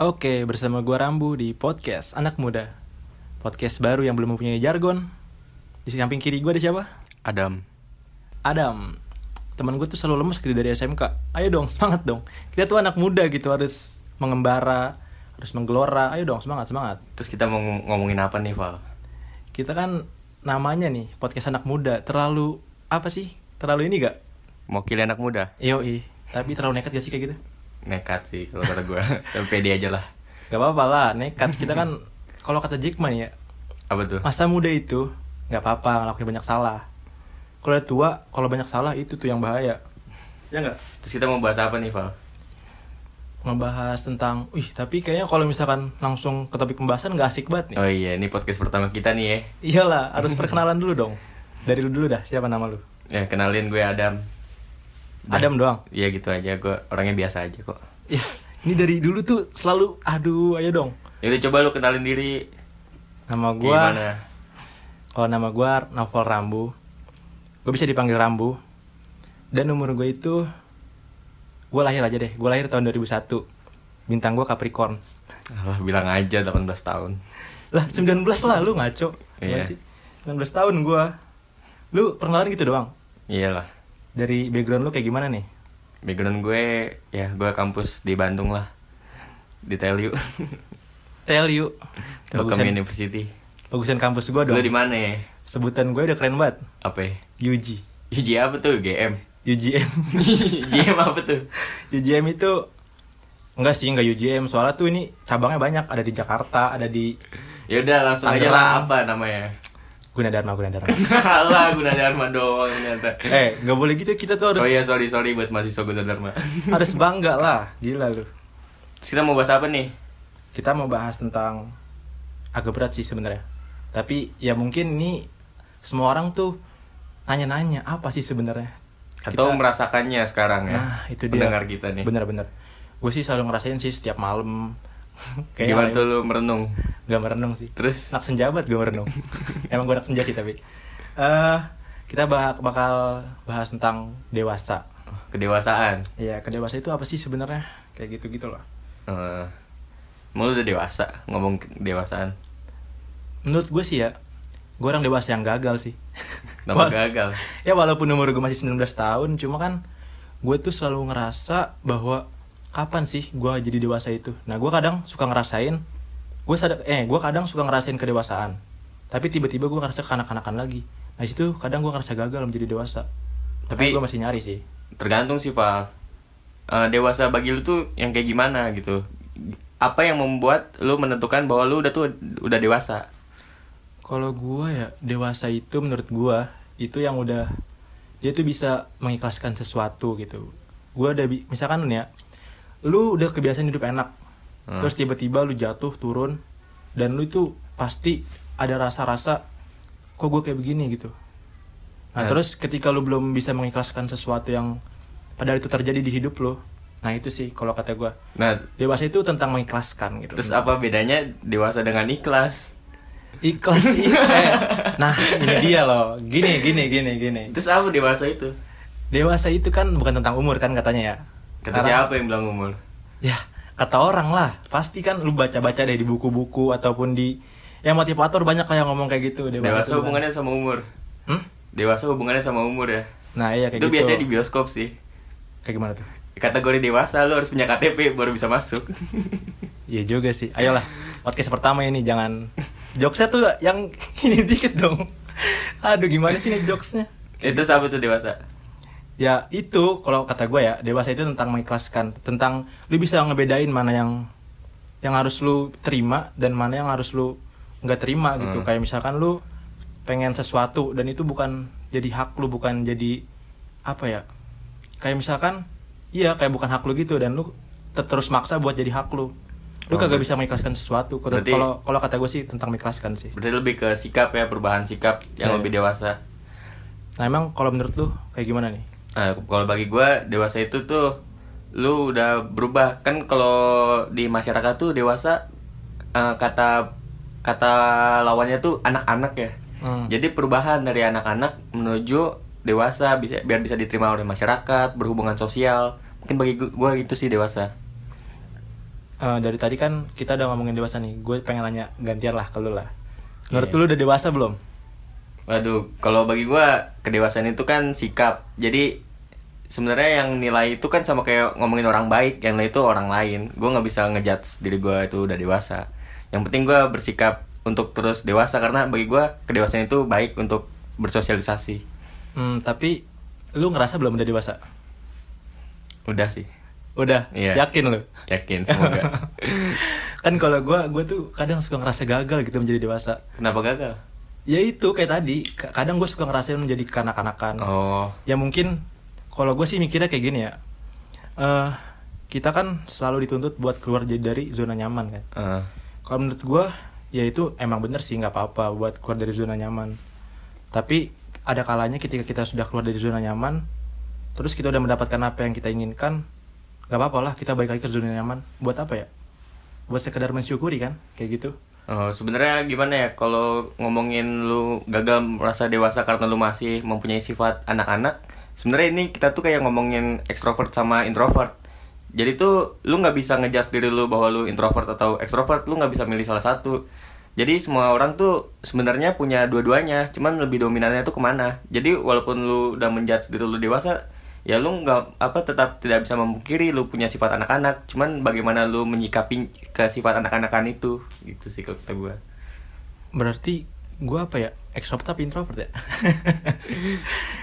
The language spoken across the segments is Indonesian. Oke, bersama gua Rambu di podcast Anak Muda. Podcast baru yang belum mempunyai jargon. Di samping kiri gua ada siapa? Adam. Adam. Temen gue tuh selalu lemes gitu dari SMK. Ayo dong, semangat dong. Kita tuh anak muda gitu harus mengembara, harus menggelora. Ayo dong, semangat, semangat. Terus kita mau ngom- ngomongin apa nih, Val? Kita kan namanya nih podcast anak muda terlalu apa sih? Terlalu ini gak? Mau kilih anak muda? Yoi. Tapi terlalu nekat gak sih kayak gitu? Nekat sih kalau kata gue. Tapi pede aja lah. Gak apa-apa lah, nekat. Kita kan kalau kata Jackman ya, Apa tuh? masa muda itu nggak apa-apa ngelakuin banyak salah kalau udah tua kalau banyak salah itu tuh yang bahaya ya nggak Terus kita mau bahas apa nih, Val? membahas tentang wih tapi kayaknya kalau misalkan langsung ke topik pembahasan nggak asik banget nih Oh iya, ini podcast pertama kita nih ya. iyalah harus perkenalan dulu dong dari lu dulu dah siapa nama lu Ya, kenalin gue Adam. Dah. Adam doang Iya gitu aja, gue orangnya biasa aja kok. Ih, ini dari dulu tuh selalu aduh ayo dong Yaudah Ya coba lu kenalin diri. nama gua Gimana? kalau nama gua Novel Rambu gue bisa dipanggil Rambu dan umur gue itu gue lahir aja deh gue lahir tahun 2001 bintang gue Capricorn Alah, bilang aja 18 tahun. lah 19 lah lu ngaco Gimana Iya. sih? 19 tahun gue lu perkenalan gitu doang Iyalah. dari background lu kayak gimana nih Background gue, ya gue kampus di Bandung lah. Di TLU. tell you Telkom bagusan, University. bagusan kampus gue Lu dong di mana ya? sebutan gue udah keren banget Apa ya? UG UJ apa tuh? GM? UGM UJM apa tuh? UGM itu Enggak sih, enggak UGM. Soalnya tuh ini cabangnya banyak. Ada di Jakarta, ada di Ya udah langsung aja Tangerang. lah apa namanya? Gunadarma, Gunadarma. Alah Gunadarma doang ternyata. eh, nggak boleh gitu. Kita tuh harus Oh iya sorry sorry buat mahasiswa Gunadarma. harus bangga lah. Gila lu. Terus kita mau bahas apa nih? Kita mau bahas tentang agak berat sih sebenarnya. Tapi ya mungkin ini semua orang tuh nanya-nanya apa sih sebenarnya. Atau merasakannya sekarang ya? Nah, itu dia. Pendengar kita nih. Bener-bener. Gue sih selalu ngerasain sih setiap malam. Kayaknya Gimana tuh lu merenung? Gak merenung sih. Terus anak senja banget gue merenung emang gue anak senja sih tapi eh kita ba- bakal bahas tentang dewasa kedewasaan. ya kedewasa itu apa sih sebenarnya kayak gitu gitu loh Eh, Emang lu udah dewasa ngomong kedewasaan. menurut gue sih ya gue orang dewasa yang gagal sih Tambah Wal- gagal. ya walaupun umur gue masih 19 tahun cuma kan gue tuh selalu ngerasa bahwa kapan sih gue jadi dewasa itu nah gue kadang suka ngerasain gue sadar eh gue kadang suka ngerasain kedewasaan tapi tiba-tiba gue ngerasa kanak-kanakan lagi nah situ kadang gue ngerasa gagal menjadi dewasa tapi Tapi- gue masih nyari sih Tergantung sih Pak. Eh, dewasa bagi lu tuh yang kayak gimana gitu? Apa yang membuat lu menentukan bahwa lu udah tuh udah dewasa? kalau gue ya dewasa itu menurut gue itu yang udah dia tuh bisa mengikhlaskan sesuatu gitu gue udah bi- misalkan nih ya lu udah kebiasaan hidup enak Hmm. terus tiba-tiba lu jatuh turun dan lu itu pasti ada rasa-rasa kok gue kayak begini gitu nah Hmm. terus ketika lu belum bisa mengikhlaskan sesuatu yang padahal itu terjadi di hidup lu nah itu sih kalau kata gue Nah, dewasa itu tentang mengikhlaskan gitu Terus apa bedanya dewasa dengan ikhlas? ikhlas i- eh. nah ini dia loh gini gini gini gini Terus apa dewasa itu? dewasa itu kan bukan tentang umur kan katanya ya Kata Karena- siapa yang bilang umur? ya kata orang lah pasti kan lu baca baca deh di buku-buku ataupun di Ya, yang motivator banyak lah yang ngomong kayak gitu Dewasa itu bukan- hubungannya sama umur. Hmm? Dewasa hubungannya sama umur ya. nah iya kayak itu gitu biasanya di bioskop sih. kayak gimana tuh Kategori dewasa lu harus punya KTP baru bisa masuk. Iya juga sih ayolah podcast pertama ini jangan jokesnya tuh yang ini dikit dong aduh gimana sih nih jokesnya itu apa tuh dewasa? Ya itu kalau kata gue ya dewasa itu tentang mengikhlaskan, tentang lu bisa ngebedain mana yang yang harus lu terima dan mana yang harus lu nggak terima gitu. Hmm. Kayak misalkan lu pengen sesuatu dan itu bukan jadi hak lu, bukan jadi apa ya? Kayak misalkan iya kayak bukan hak lu gitu dan lu te- terus maksa buat jadi hak lu. Lu Oh, kagak ber- bisa mengikhlaskan sesuatu. Kalau berarti- kalau- kalau kata gue sih tentang mengikhlaskan sih. Berarti lebih ke sikap ya, perubahan sikap yang Iya. lebih dewasa. Nah emang kalau menurut lu kayak gimana nih? Nah, kalau bagi gua dewasa itu tuh lu udah berubah. Kan kalau di masyarakat tuh dewasa eh, kata kata lawannya tuh anak-anak ya. Hmm. Jadi perubahan dari anak-anak menuju dewasa bisa biar bisa diterima oleh masyarakat, berhubungan sosial. Mungkin bagi gue gitu sih dewasa. eh, dari tadi kan kita udah ngomongin dewasa nih. Gue pengen nanya gantian lah ke lu lah. Menurut Iya. lu udah dewasa belum? Waduh, kalau bagi gua kedewasaan itu kan sikap. Jadi sebenarnya yang nilai itu kan sama kayak ngomongin orang baik, yang nilai itu orang lain. Gua nggak bisa ngejudge diri gua itu udah dewasa. Yang penting gua bersikap untuk terus dewasa karena bagi gua kedewasaan itu baik untuk bersosialisasi. Hmm, tapi lu ngerasa belum udah dewasa? Udah sih. Udah, Iya. yakin lu? Yakin semoga. kan kalau gue gue tuh kadang suka ngerasa gagal gitu menjadi dewasa Kenapa gagal? ya itu kayak tadi ka- kadang gue suka ngerasain menjadi kanak-kanakan Oh, ya mungkin kalau gue sih mikirnya kayak gini ya eh kita kan selalu dituntut buat keluar jadi dari zona nyaman kan eh, kalau menurut gue ya itu emang bener sih nggak apa-apa buat keluar dari zona nyaman tapi ada kalanya ketika kita sudah keluar dari zona nyaman terus kita udah mendapatkan apa yang kita inginkan nggak apa-apa lah kita balik lagi ke zona nyaman buat apa ya buat sekedar mensyukuri kan kayak gitu Oh, sebenarnya gimana ya kalau ngomongin lu gagal merasa dewasa karena lu masih mempunyai sifat anak-anak. Sebenarnya ini kita tuh kayak ngomongin ekstrovert sama introvert. Jadi tuh lu nggak bisa ngejas diri lu bahwa lu introvert atau ekstrovert, lu nggak bisa milih salah satu. Jadi semua orang tuh sebenarnya punya dua-duanya, cuman lebih dominannya tuh kemana. Jadi walaupun lu udah menjudge diri lu dewasa, ya lu nggak apa tetap tidak bisa memungkiri lu punya sifat anak-anak cuman bagaimana lu menyikapi ke sifat anak-anakan itu gitu sih kalau kata gua berarti gue apa ya extrovert tapi introvert ya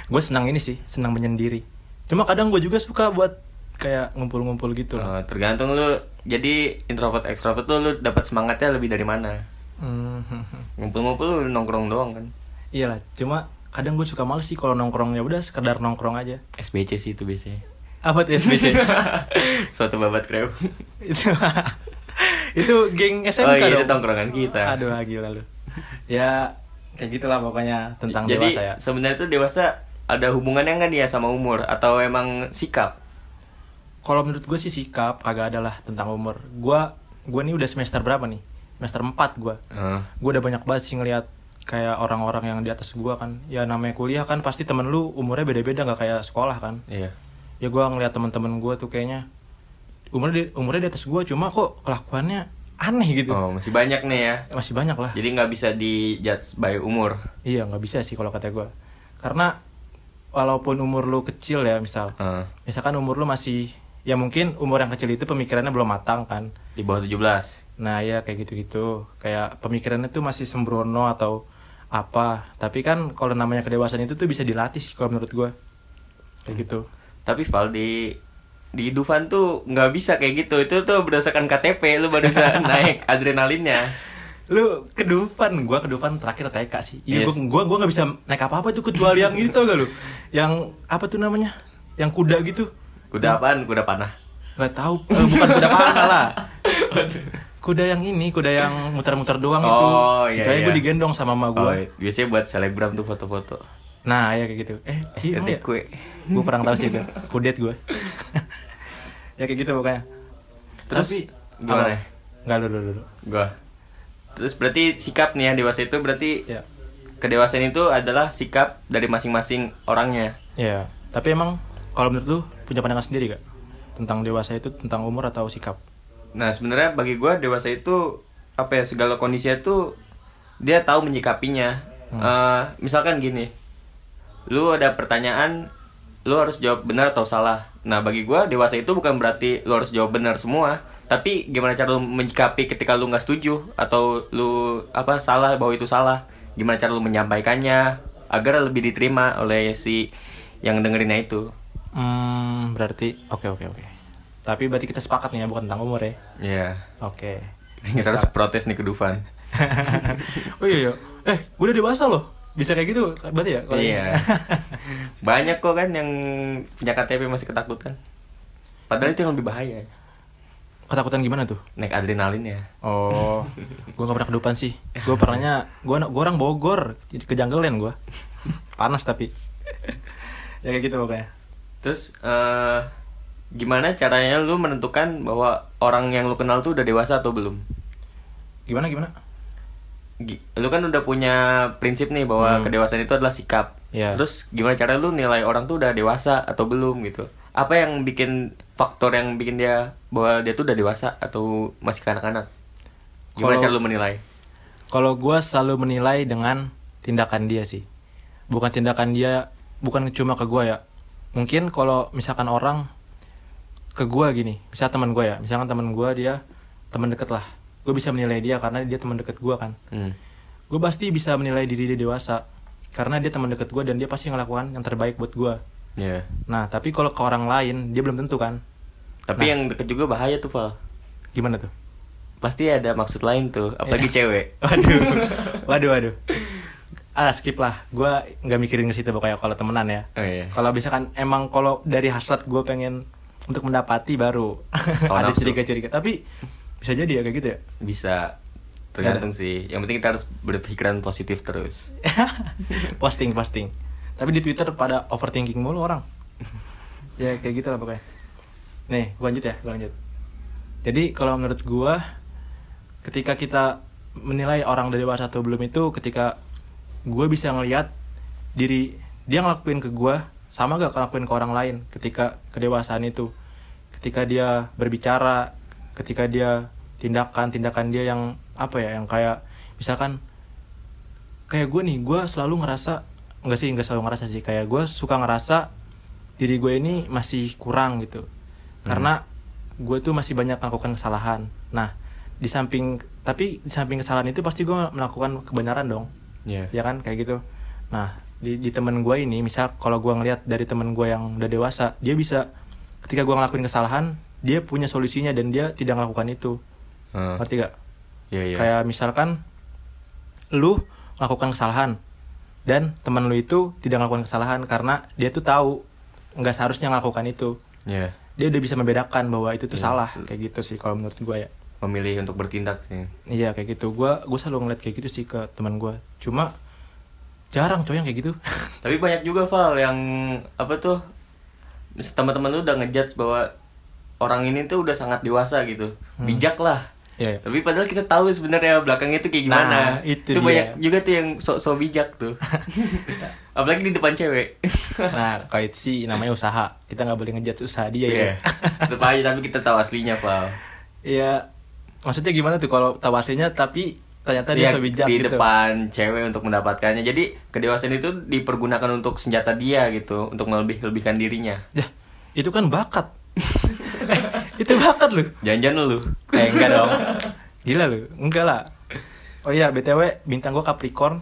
gue senang ini sih senang menyendiri cuma kadang gue juga suka buat kayak ngumpul-ngumpul gitu loh Eh, tergantung lu jadi introvert ekstrovert tuh lu dapat semangatnya lebih dari mana Mhm. ngumpul-ngumpul lu nongkrong doang kan Iya lah, cuma kadang gue suka males sih kalau nongkrongnya udah sekedar nongkrong aja. SBC sih itu biasanya Apa tuh SBC? suatu babat krep itu, itu geng SMK Oh, iya, itu dong. tongkrongan kita. Aduh, ah, gila lu. Ya, kayak gitulah pokoknya tentang jadi dewasa ya. sebenarnya tuh dewasa ada hubungannya nggak dia sama umur atau emang sikap Kalau menurut gue sih sikap kagak ada lah tentang umur. Gue gue nih udah semester berapa nih? Semester 4 gue. Eh, Gue udah banyak banget sih ngeliat kayak orang-orang yang di atas gue kan. Ya namanya kuliah kan pasti temen lu umurnya beda-beda nggak kayak sekolah kan. iya ya gue ngeliat teman-teman gue tuh kayaknya umurnya di, umurnya di atas gue cuma kok kelakuannya aneh gitu oh masih banyak nih ya masih banyak lah jadi nggak bisa di judge by umur iya nggak bisa sih kalau kata gue karena walaupun umur lu kecil ya misal Eh, misalkan umur lu masih ya mungkin umur yang kecil itu pemikirannya belum matang kan di bawah 17 nah ya kayak gitu-gitu kayak pemikirannya tuh masih sembrono atau apa tapi kan kalau namanya kedewasaan itu tuh bisa dilatih sih kalau menurut gue kayak Hmm. gitu Tapi Val di di Dufan tuh nggak bisa kayak gitu. Itu tuh berdasarkan KTP lu baru bisa naik adrenalinnya. lu kedupan gua kedupan terakhir TK sih iya Yes. gua gua gua nggak bisa naik apa apa tuh kecuali yang itu gak lu yang apa tuh namanya yang kuda gitu Kuda apaan? Kuda panah. nggak tahu Eh, bukan kuda panah lah kuda yang ini kuda yang muter-muter doang itu Oh, iya, Kayaknya gua iya. digendong sama mama Oh, gua biasanya buat selebgram tuh foto-foto. nah ya kayak gitu eh iya, emang ya? Estetik kue. gue pernah tahu sih itu kudet gue ya kayak gitu pokoknya Terus, gimana ya? nggak lu dulu dulu Gua. Terus berarti sikap nih ya dewasa itu berarti ya kedewasaan itu adalah sikap dari masing-masing orangnya. Ya, tapi emang kalau menurut lu punya pandangan sendiri gak? Tentang dewasa itu tentang umur atau sikap? Nah sebenarnya bagi gua dewasa itu apa ya segala kondisinya tuh dia tahu menyikapinya. Eh, misalkan gini, lu ada pertanyaan, lu harus jawab benar atau salah. Nah bagi gua dewasa itu bukan berarti lu harus jawab benar semua, tapi gimana cara lu menyikapi ketika lu nggak setuju atau lu apa salah bahwa itu salah. Gimana cara lu menyampaikannya agar lebih diterima oleh si yang dengerinnya itu. Hmm, berarti oke oke oke. Tapi berarti kita sepakat nih ya bukan tentang umur ya. Iya. Oke. Kita harus protes nih ke Dufan. oh iya iya. Eh, gue udah dewasa loh. Bisa kayak gitu berarti ya? kalau Iya. Banyak kok kan yang punya KTP masih ketakutan. Padahal itu yang lebih bahaya. Ketakutan gimana tuh? Naik ya. adrenalinnya. Oh, gue gak pernah kedupan sih. Gue pernahnya, gue gua orang Bogor, ke jungleland gue. Panas tapi. ya kayak gitu pokoknya. Terus eh gimana caranya lu menentukan bahwa orang yang lu kenal tuh udah dewasa atau belum? Gimana gimana? Gi- Lu kan udah punya prinsip nih bahwa kedewasaan itu adalah sikap. Hmm. Iya. Terus gimana cara lu nilai orang tuh udah dewasa atau belum gitu? Apa yang bikin faktor yang bikin dia bahwa dia tuh udah dewasa atau masih kanak-kanak? Gimana Kalau- cara lu menilai? Kalau gua selalu menilai dengan tindakan dia sih. Bukan tindakan dia, bukan cuma ke gua ya. Mungkin kalau misalkan orang ke gua gini, misal teman gua ya, misalkan teman gua dia teman deket lah. Gue bisa menilai dia karena dia teman deket gua kan. Hmm. Gue pasti bisa menilai diri dia dewasa karena dia teman deket gua dan dia pasti ngelakukan yang terbaik buat gua. Ya. Nah, tapi kalau ke orang lain dia belum tentu kan. Tapi Nah. yang deket juga bahaya tuh, Val. Gimana tuh? Pasti ada maksud lain tuh, apalagi cewek. Waduh, waduh, waduh. Ah, skip lah. Gua nggak mikirin ke situ pokoknya kalau temenan ya. Oh iya. Kalau misalkan emang kalau dari hasrat gue pengen untuk mendapati baru ada nafsu. curiga-curiga. Tapi bisa jadi ya kayak gitu ya. Bisa tergantung sih. Yang penting kita harus berpikiran positif terus. posting, posting. Tapi di Twitter pada overthinking mulu orang. ya kayak gitu lah pokoknya. Nih, gua lanjut ya, gua lanjut. Jadi kalau menurut gua ketika kita menilai orang dari dewasa atau belum itu ketika gue bisa ngelihat diri dia ngelakuin ke gue sama gak ngelakuin ke orang lain ketika kedewasaan itu ketika dia berbicara ketika dia tindakan tindakan dia yang apa ya yang kayak misalkan kayak gue nih gue selalu ngerasa nggak sih nggak selalu ngerasa sih kayak gue suka ngerasa diri gue ini masih kurang gitu karena gue tuh masih banyak melakukan kesalahan nah di samping tapi di samping kesalahan itu pasti gue melakukan kebenaran dong Iya. ya kan kayak gitu nah di, di temen gue ini misal kalau gue ngelihat dari temen gue yang udah dewasa dia bisa ketika gue ngelakuin kesalahan dia punya solusinya dan dia tidak melakukan itu Heeh. ngerti gak Iya, iya. Kayak misalkan lu melakukan kesalahan dan teman lu itu tidak melakukan kesalahan karena dia tuh tahu nggak seharusnya melakukan itu. Iya. Dia udah bisa membedakan bahwa itu tuh salah kayak gitu sih kalau menurut gua ya. Memilih untuk bertindak sih. Iya kayak gitu. Gua gua selalu ngeliat kayak gitu sih ke teman gua. Cuma jarang cowok yang kayak gitu. Tapi banyak juga Val yang apa tuh mis- teman-teman lu udah ngejudge bahwa orang ini tuh udah sangat dewasa gitu. Bijak lah. Iya. Tapi padahal kita tahu sebenarnya belakangnya tuh kayak Nah, gimana. itu dia. banyak juga tuh yang sok-sok bijak tuh. Apalagi di depan cewek. nah, kalau itu sih namanya usaha. Kita nggak boleh ngejat usaha dia ya. Iya. Tetep aja tapi kita tahu aslinya, Val. Iya. Maksudnya gimana tuh kalau tahu aslinya tapi ternyata dia Iya, so bijak di gitu. depan cewek untuk mendapatkannya. Jadi kedewasaan itu dipergunakan untuk senjata dia gitu, untuk melebih-lebihkan dirinya. Ya, itu kan bakat. Eh, itu bakat lu. Jangan-jangan lu. Eh, enggak dong. Gila lu. Enggak lah. Oh iya, BTW bintang gua Capricorn.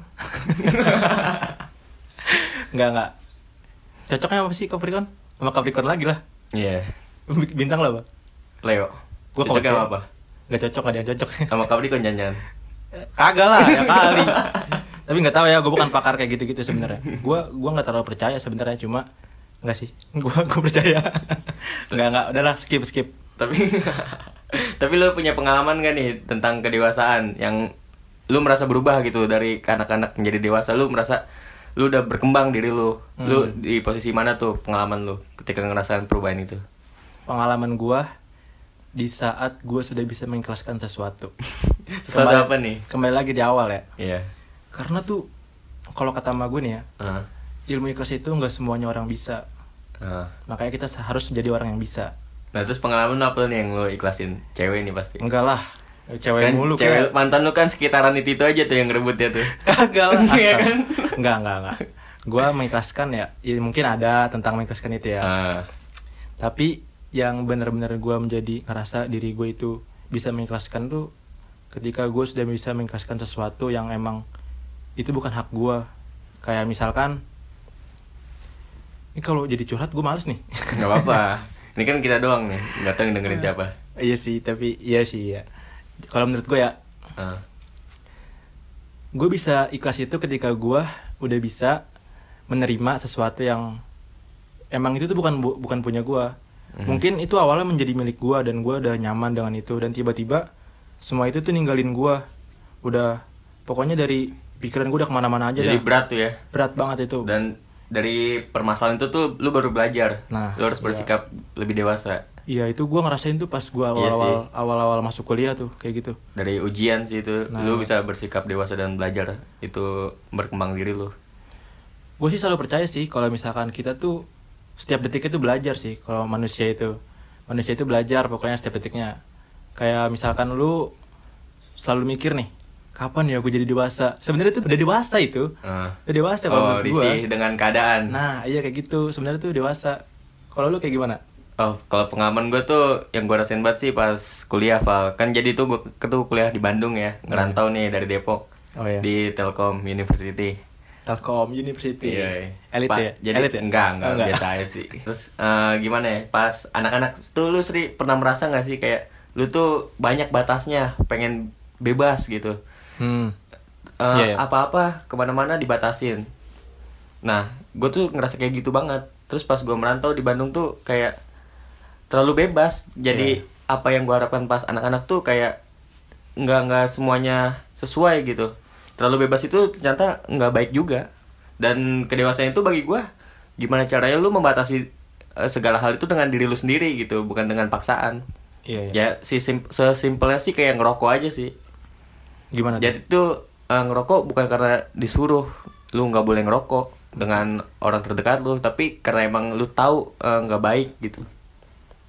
enggak, enggak. Cocoknya apa sih Capricorn? Sama Capricorn lagi lah. Iya. Bintang lah, Pak. Leo. Gua kalau Cocok sama cewek- apa? Enggak cocok, enggak ada yang cocok. Sama kan Capricorn jangan. Kagak lah, ya kali. Tapi nggak tahu ya, gue bukan pakar kayak gitu-gitu sebenarnya. Gue gua nggak terlalu percaya sebenarnya, cuma nggak sih. Gue gue percaya. Nggak nggak, udahlah skip skip. Tapi tapi lu punya pengalaman gak nih tentang kedewasaan yang lu merasa berubah gitu dari kanak-kanak menjadi dewasa lu merasa lu udah berkembang diri lu. Lu Hmm. di posisi mana tuh pengalaman lu ketika ngerasain perubahan itu? pengalaman gua di saat gua sudah bisa mengikhlaskan sesuatu. Sesuatu Kembali- apa nih? Kembali lagi di awal ya. Iya. Karena tuh kalau kata emak gue nih ya, Heeh. ilmu ikhlas itu nggak semuanya orang bisa. Heeh. Makanya kita harus jadi orang yang bisa. Nah terus pengalaman lu apa nih yang lu ikhlasin? Cewek nih pasti Enggak lah, cewek kan mulu cewek kayak. mantan lu kan sekitaran itu itu aja tuh yang ngerebut dia tuh Kagak lah. Iya astaga. kan? Enggak, enggak, enggak. Gua mengikhlaskan ya, ya mungkin ada tentang mengikhlaskan itu ya. Ah, Tapi yang benar-benar gua menjadi ngerasa diri gue itu bisa mengikhlaskan tuh ketika gue sudah bisa mengikhlaskan sesuatu yang emang itu bukan hak gua Kayak misalkan ini kalau jadi curhat gue males nih. nggak apa-apa ini kan kita doang nih nggak tahu yang dengerin siapa iya sih, tapi iya sih ya. Kalau menurut gue ya, Ah, gue bisa ikhlas itu ketika gua udah bisa menerima sesuatu yang emang itu tuh bukan bu- bukan punya gua Mhm. mungkin itu awalnya menjadi milik gua dan gua udah nyaman dengan itu dan tiba-tiba semua itu tuh ninggalin gua udah pokoknya dari pikiran gua udah kemana-mana aja jadi dah. berat tuh ya berat banget itu dan dari permasalahan itu tuh lu baru belajar Nah, lu harus bersikap lebih dewasa iya itu gua ngerasain tuh pas gua Iya awal-awal awal-awal masuk kuliah tuh kayak gitu dari ujian sih itu Nah. lu bisa bersikap dewasa dan belajar itu berkembang diri lu gue sih selalu percaya sih kalau misalkan kita tuh setiap detik itu belajar sih kalau manusia itu manusia itu belajar pokoknya setiap detiknya kayak misalkan lu selalu mikir nih kapan ya gue jadi dewasa sebenarnya itu udah dewasa itu Ah. udah Ya, dewasa kalau oh, menurut gue risih dengan keadaan. nah iya kayak gitu sebenarnya tuh dewasa kalau lu kayak gimana Oh, kalau pengalaman gue tuh yang gue rasain banget sih pas kuliah, Val. Kan jadi tuh gue tuh kuliah di Bandung ya, ngerantau nih dari Depok. Oh, Nah. iya. Di Telkom University. Telkom University Iya. elit Pa- ya Jadi elit ya? enggak, enggak, Oh, biasa aja sih. Terus eh, gimana ya? Pas anak-anak tuh lu Sri pernah merasa nggak sih kayak lu tuh banyak batasnya, pengen bebas gitu. hmm. Eh, Iya, iya. apa-apa kemana-mana dibatasin. Nah, gue tuh ngerasa kayak gitu banget. Terus pas gue merantau di Bandung tuh kayak terlalu bebas. Iya, Jadi apa yang gue harapkan pas anak-anak tuh kayak nggak nggak semuanya sesuai gitu. Terlalu bebas itu ternyata nggak baik juga. Dan kedewasaan itu bagi gue gimana caranya lu membatasi eh, segala hal itu dengan diri lu sendiri gitu, bukan dengan paksaan. iya, iya. Ya, si sim- sesimpelnya sih kayak ngerokok aja sih. gimana tuh? Jadi tuh eh, ngerokok bukan karena disuruh lu nggak boleh ngerokok dengan orang terdekat lu, tapi karena emang lu tahu eh, nggak baik gitu.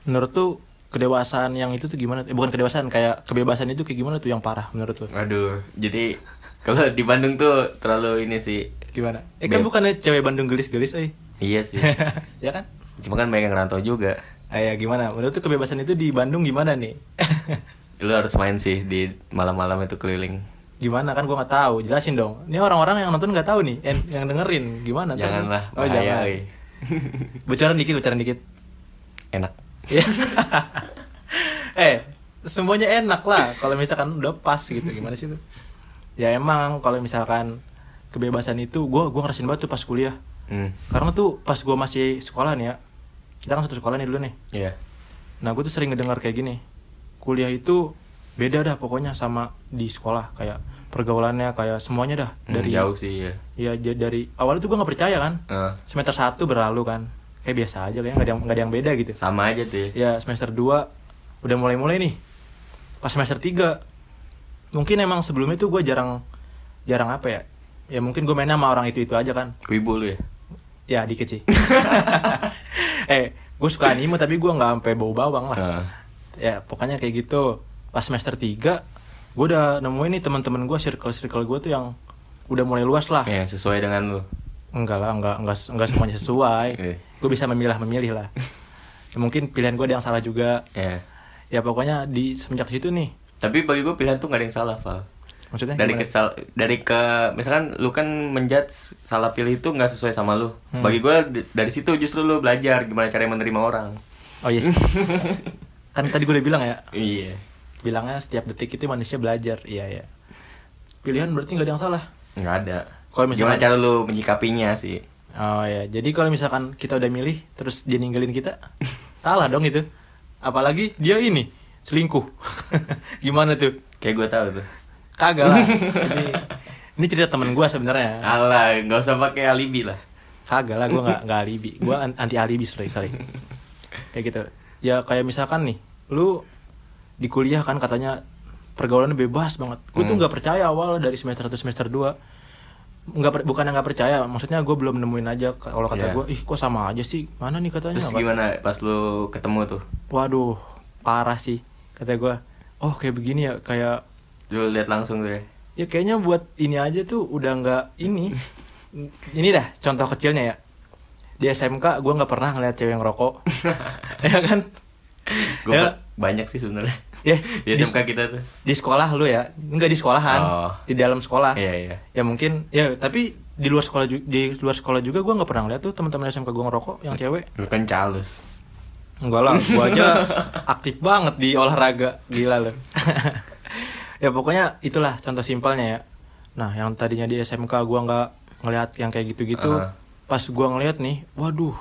menurut tuh kedewasaan yang itu tuh gimana eh, bukan kedewasaan kayak kebebasan itu kayak gimana tuh yang parah menurut tuh Aduh, jadi kalau di Bandung tuh terlalu ini sih. gimana eh kan Beb- bukannya cewek Bandung gelis-gelis eh Iya sih. ya kan Cuma kan banyak yang ngerantau juga. Ayah gimana menurut tuh kebebasan itu di Bandung gimana nih Lu harus main sih di malam-malam itu keliling. gimana kan gua nggak tahu jelasin dong ini orang-orang yang nonton nggak tahu nih eh, yang dengerin gimana tuh? Janganlah, oh bahaya, jangan eh. bocoran dikit bocoran dikit Enak. Ya. eh semuanya enak lah kalau misalkan udah pas gitu gimana sih tuh ya emang kalau misalkan kebebasan itu gua gua ngerasin banget tuh pas kuliah Hmm. karena tuh pas gua masih sekolah nih ya kita kan satu sekolah nih dulu nih Iya. nah gue tuh sering ngedengar kayak gini kuliah itu beda dah pokoknya sama di sekolah kayak pergaulannya kayak semuanya dah Hmm, dari jauh sih ya. ya ja- dari awalnya tuh gue nggak percaya kan Eh, semester 1 berlalu kan kayak biasa aja kayaknya nggak ada yang nggak ada yang beda gitu sama aja tuh. Ya. ya semester 2 udah mulai-mulai nih pas semester 3 mungkin emang sebelumnya tuh gue jarang jarang apa ya ya mungkin gue mainnya sama orang itu itu aja kan Wibu lu ya. ya dikit sih eh gue suka anime tapi gue nggak sampai bau bawang lah Eh, ya pokoknya kayak gitu pas semester 3 gue udah nemuin nih teman-teman gue circle circle gue tuh yang udah mulai luas lah ya, sesuai dengan lu. enggak lah enggak enggak enggak semuanya sesuai Iya. gue bisa memilah memilih lah Ya, mungkin pilihan gue ada yang salah juga Ya. ya pokoknya di semenjak situ nih Tapi bagi gue pilihan tuh gak ada yang salah, Val. maksudnya dari gimana? kesal dari ke misalkan lu kan menjudge salah pilih itu nggak sesuai sama lu Hmm. bagi gue d- dari situ justru lu belajar gimana cara menerima orang oh yes kan tadi gue udah bilang ya iya bilangnya setiap detik itu manusia belajar iya ya pilihan berarti nggak ada yang salah nggak ada Kalau misalkan- gimana cara lu menyikapinya sih oh ya jadi kalau misalkan kita udah milih terus dia ninggalin kita salah dong itu apalagi dia ini selingkuh gimana tuh kayak gue tahu tuh kagak lah Jadi, ini cerita temen gue sebenarnya Alah, nggak usah pakai alibi lah Kagak lah, gue nggak nggak alibi. Gue an- anti alibi sorry sorry. Kayak gitu. Ya kayak misalkan nih, lu di kuliah kan katanya pergaulannya bebas banget. Gue tuh Hmm. nggak percaya awal dari semester 1 semester 2 nggak per- bukan nggak percaya, maksudnya gue belum nemuin aja k- kalau kata Iya. gue, ih kok sama aja sih, mana nih katanya? terus gimana pas lu ketemu tuh Waduh, parah sih kata gue. Oh kayak begini ya, kayak lu lihat langsung tuh ya ya kayaknya buat ini aja tuh udah nggak ini ini dah contoh kecilnya ya di SMK gue nggak pernah ngeliat cewek yang rokok ya kan gue Ya. banyak sih sebenarnya Ya, di SMK kita tuh di sekolah lu ya nggak di sekolahan Oh. di dalam sekolah iya iya ya mungkin ya tapi di luar sekolah ju- di luar sekolah juga gue nggak pernah ngeliat tuh teman-teman SMK gue ngerokok yang cewek lu kan calus Enggak lah, gua aja aktif banget di olahraga, gila loh. ya pokoknya itulah contoh simpelnya ya. Nah, yang tadinya di SMK gua nggak ngelihat yang kayak gitu-gitu, Ah. pas gua ngelihat nih, waduh,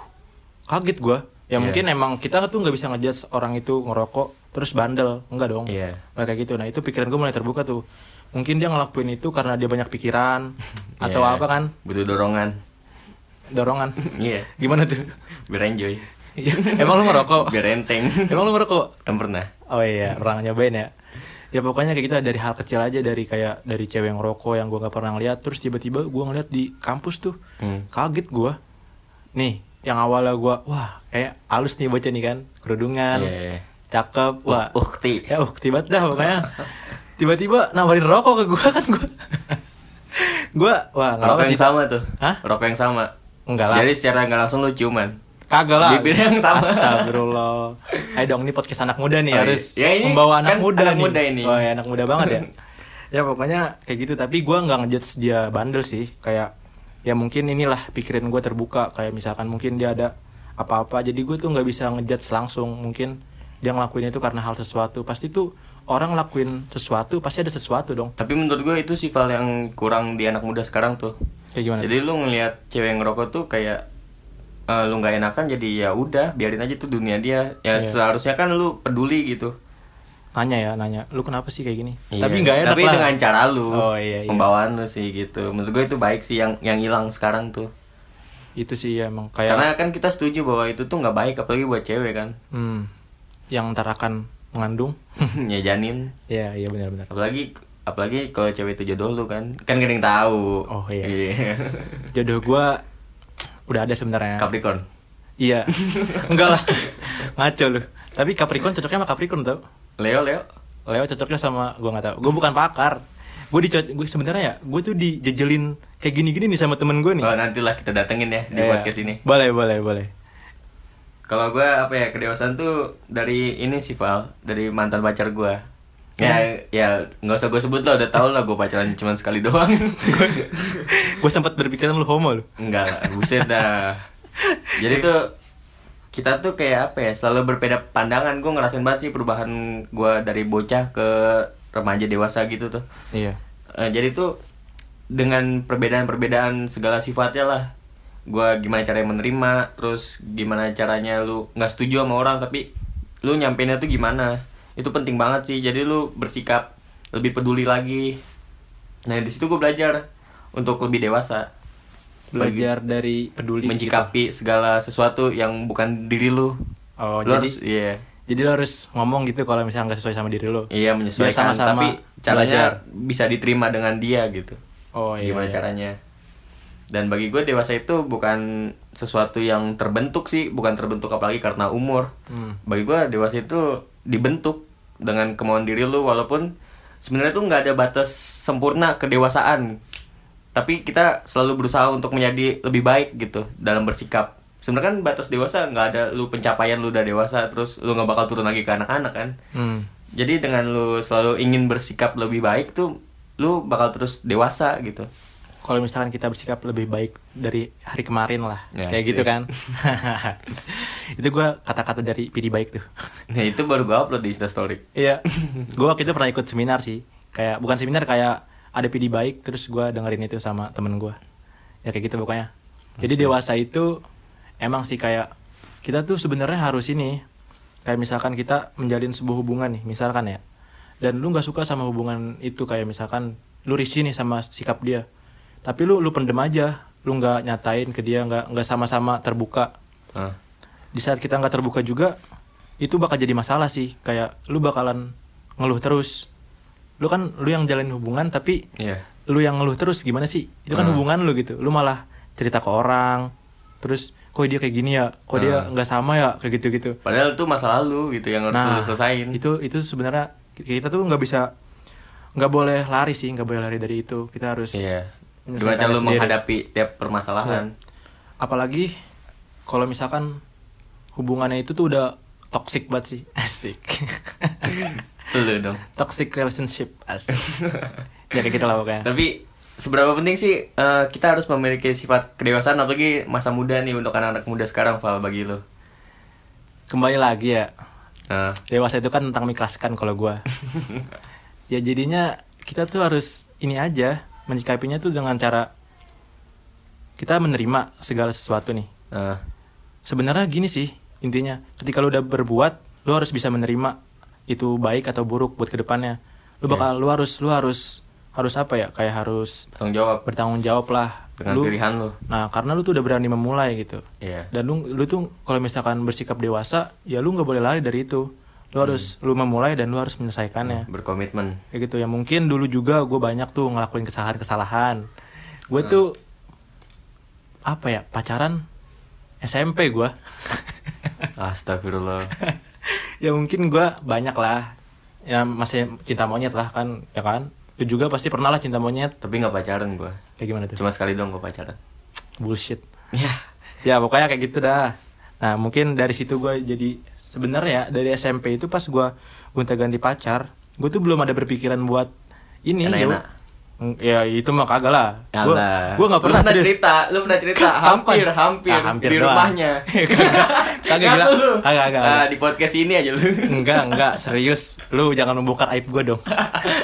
kaget gua. Ya Iya. mungkin emang kita tuh nggak bisa ngejudge orang itu ngerokok terus bandel, enggak dong. Iya. Nggak kayak gitu. Nah, itu pikiran gua mulai terbuka tuh. Mungkin dia ngelakuin itu karena dia banyak pikiran atau Iya. apa kan? butuh dorongan Dorongan. iya Gimana tuh? biar enjoy Ya, emang lu ngerokok? biar enteng Emang lu ngerokok? kan pernah Oh iya, pernah nyobain ya. Ya ya pokoknya kayak kita dari hal kecil aja dari kayak dari cewek yang rokok yang gue nggak pernah lihat terus tiba-tiba gue ngeliat di kampus tuh Hmm. kaget gue nih yang awalnya gue wah kayak halus nih bocah nih kan kerudungan Iya, iya. cakep wah Uh, ukti. ya uh tiba dah pokoknya tiba-tiba nawarin rokok ke gue kan gue gue wah nggak apa Rokok sih yang sama tuh. Hah? Rokok yang sama. Enggak lah. Jadi secara nggak langsung lu ciuman. kagak lah Bibir yang sama. astagfirullah ayo dong ini podcast anak muda nih Oh, iya. harus Ya, ini membawa anak kan muda anak nih muda ini. oh ya anak muda banget ya ya pokoknya kayak gitu tapi gua nggak ngejudge dia bandel sih kayak ya mungkin inilah pikiran gue terbuka kayak misalkan mungkin dia ada apa-apa jadi gue tuh nggak bisa ngejudge langsung mungkin dia ngelakuin itu karena hal sesuatu pasti tuh orang lakuin sesuatu pasti ada sesuatu dong Tapi menurut gue itu sifat yang kurang di anak muda sekarang tuh. kayak gimana Jadi lu ngelihat cewek ngerokok tuh kayak eh, lu nggak enakan jadi ya udah biarin aja tuh dunia dia. Ya Iya. seharusnya kan lu peduli gitu. nanya ya nanya lu kenapa sih kayak gini Iya. tapi nggak enak Tapi lah dengan cara lu, Oh, iya, iya. pembawaan lu sih gitu. Menurut gue itu baik sih yang yang hilang sekarang tuh. itu sih ya, emang kayak Karena kan kita setuju bahwa itu tuh nggak baik apalagi buat cewek kan. Hmm, yang ntar akan mengandung. ya janin. Iya, iya benar-benar. Apalagi apalagi kalau cewek itu jodoh lu kan. Kan gak ada yang tahu. Oh, iya. Iya. Jodoh gua udah ada sebenarnya. Capricorn. Iya. Enggak lah. Ngaco lu. Tapi Capricorn cocoknya sama Capricorn tau. Leo, Leo. Leo cocoknya sama gua nggak tahu. Gua bukan pakar. Gue dicocok gue sebenarnya ya, gue tuh dijejelin kayak gini-gini nih sama temen gue nih. Oh, nantilah kita datengin ya di Iya. podcast ini. Boleh, boleh, boleh. Kalau gue apa ya kedewasaan tuh dari ini sih Val, dari mantan pacar gue. Iya. Ya, ya nggak usah gue sebut lah, udah tau lah gue pacaran cuma sekali doang. gue sempat berpikiran lu homo lu. Enggak lah, buset dah. Jadi tuh kita tuh kayak apa ya, selalu berbeda pandangan. Gue ngerasain banget sih perubahan gue dari bocah ke remaja dewasa gitu tuh. Iya. Eh, jadi tuh dengan perbedaan-perbedaan segala sifatnya lah gua gimana caranya menerima terus gimana caranya lu nggak setuju sama orang tapi lu nyampeinnya tuh gimana itu penting banget sih jadi lu bersikap lebih peduli lagi nah di situ gue belajar untuk lebih dewasa Belajar dari peduli. gitu. mencikapi segala sesuatu yang bukan diri lu Oh, Lu jadi- harus- iya Jadi lo harus ngomong gitu kalau misalnya nggak sesuai sama diri lo. iya menyesuaikan Biar sama-sama tapi caranya belajar. bisa diterima dengan dia gitu Oh iya. gimana iya. caranya dan bagi gue dewasa itu bukan sesuatu yang terbentuk sih bukan terbentuk apalagi karena umur Hmm. bagi gue dewasa itu dibentuk dengan kemauan diri lu walaupun sebenarnya tuh nggak ada batas sempurna kedewasaan tapi kita selalu berusaha untuk menjadi lebih baik gitu dalam bersikap sebenarnya kan batas dewasa nggak ada lu pencapaian lu udah dewasa terus lu nggak bakal turun lagi ke anak-anak kan Hmm. jadi dengan lu selalu ingin bersikap lebih baik tuh lu bakal terus dewasa gitu kalau misalkan kita bersikap lebih baik dari hari kemarin lah Ya, kayak sip. gitu kan itu gua kata-kata dari PD baik tuh Nah itu baru gue upload di Instastory iya gua waktu itu pernah ikut seminar sih kayak bukan seminar kayak ada PD baik terus gua dengerin itu sama temen gua ya kayak gitu pokoknya jadi dewasa itu emang sih kayak kita tuh sebenarnya harus ini kayak misalkan kita menjalin sebuah hubungan nih misalkan ya dan lu nggak suka sama hubungan itu kayak misalkan lu risih nih sama sikap dia tapi lu lu pendem aja lu nggak nyatain ke dia nggak nggak sama-sama terbuka Heeh. di saat kita nggak terbuka juga itu bakal jadi masalah sih kayak lu bakalan ngeluh terus lu kan lu yang jalin hubungan tapi Iya lu yang ngeluh terus gimana sih itu kan Hmm. hubungan lu gitu lu malah cerita ke orang terus kok dia kayak gini ya kok dia Hmm. nggak sama ya kayak gitu gitu Padahal itu masa lalu gitu yang harus lu selesain itu itu sebenarnya kita tuh nggak bisa nggak boleh lari sih nggak boleh lari dari itu kita harus Iya Gimana menyelesaikannya cara lu sendiri. menghadapi tiap permasalahan apalagi kalau misalkan hubungannya itu tuh udah toxic banget sih asik Lu dong toxic relationship asik ya kayak gitu lah pokoknya Tapi seberapa penting sih eh, kita harus memiliki sifat kedewasaan Apalagi masa muda nih untuk anak-anak muda sekarang Val bagi lu kembali lagi ya Nah, dewasa itu kan tentang mengikhlaskan kalau gua ya jadinya kita tuh harus ini aja menyikapinya tuh dengan cara kita menerima segala sesuatu nih nah. sebenarnya gini sih intinya ketika lu udah berbuat lu harus bisa menerima itu baik atau buruk buat kedepannya lu bakal Iya. lu harus lu harus harus apa ya kayak harus Tanggung jawab bertanggung jawab lah dengan lu pilihan lu nah karena lu tuh udah berani memulai gitu Iya dan lu lu tuh kalau misalkan bersikap dewasa ya lu nggak boleh lari dari itu lu harus lu memulai dan lu harus menyelesaikannya berkomitmen kayak gitu ya mungkin dulu juga gue banyak tuh ngelakuin kesalahan-kesalahan gue tuh apa ya pacaran SMP gue astagfirullah ya mungkin gue banyak lah ya masih cinta monyet lah kan ya kan lu juga pasti pernah lah cinta monyet tapi nggak pacaran gua kayak gimana tuh cuma sekali doang gua pacaran bullshit ya ya pokoknya kayak gitu dah nah mungkin dari situ gue jadi sebenarnya ya, dari SMP itu pas gue gonta ganti pacar gue tuh belum ada berpikiran buat ini Enak-enak. jauh. ya itu mah kagak lah gue Alah. gue nggak pernah, Ya lu pernah serius. cerita lu pernah cerita Kapan? hampir hampir, Ah, hampir di doang. rumahnya Kagak. Kagak, gila. Nggak tuh lu. Kagak, kagak, Nah, kagak. di podcast ini aja lu enggak enggak serius lu jangan membongkar aib gue dong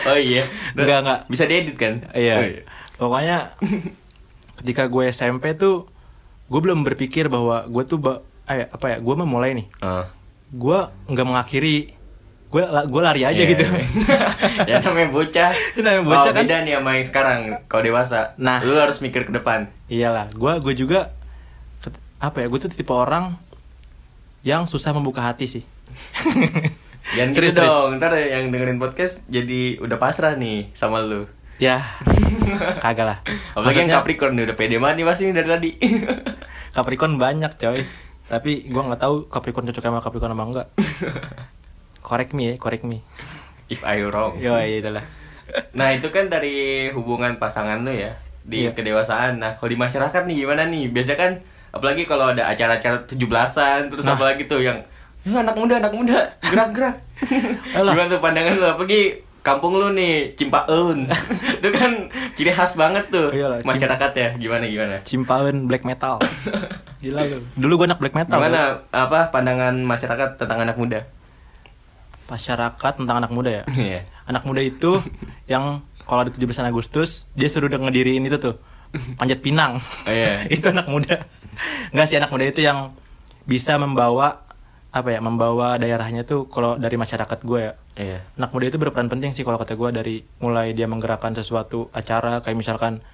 oh iya Nggak, nggak. bisa diedit kan Iya. Oh, Pokoknya ketika gue SMP tuh gue belum berpikir bahwa gue tuh ba- eh, apa ya gue memulai nih. Ah. Gue nggak mengakhiri. Gue la- gue lari aja Iya, gitu. iya. ya namanya bocah. Itu namanya bocah, Oh, kan? Beda nih sama yang sekarang kalau dewasa. Nah. lu harus mikir ke depan. Iyalah. Gue gue juga ket- apa ya gue tuh tipe orang yang susah membuka hati sih. Jangan gitu Serius, serius. dong. Ntar yang dengerin podcast jadi udah pasrah nih sama lu. Ya. Kagak lah. Apalagi Maksudnya, yang Capricorn nih udah pede banget nih pasti nih dari tadi. Capricorn banyak coy. Tapi gue nggak tahu Capricorn cocok sama Capricorn apa enggak. Correct me ya, correct me. If I wrong. Yo, itulah. Nah, itu kan dari hubungan pasangan lu ya di Iya. kedewasaan. Nah, kalau di masyarakat nih gimana nih? Biasanya kan apalagi kalau ada acara-acara 17-an terus Nah. apalagi tuh yang "Eh, anak muda, anak muda, gerak-gerak. Alah. Gimana tuh pandangan lu? Apalagi kampung lu nih, Cimpaeun. itu kan ciri khas banget tuh Iyalah, Cim- masyarakat ya. Gimana gimana? Cimpaun black metal. Gila lu. Dulu gue anak black metal. lu. Gimana apa pandangan masyarakat tentang anak muda? Masyarakat tentang anak muda ya. Iya. Anak muda itu yang kalau ada 17 Agustus dia suruh udah ngediriin itu tuh. Panjat pinang. Oh, iya. itu anak muda. Enggak sih anak muda itu yang bisa membawa apa ya membawa daerahnya tuh kalau dari masyarakat gue ya Iya. anak muda itu berperan penting sih kalau kata gue dari mulai dia menggerakkan sesuatu acara kayak misalkan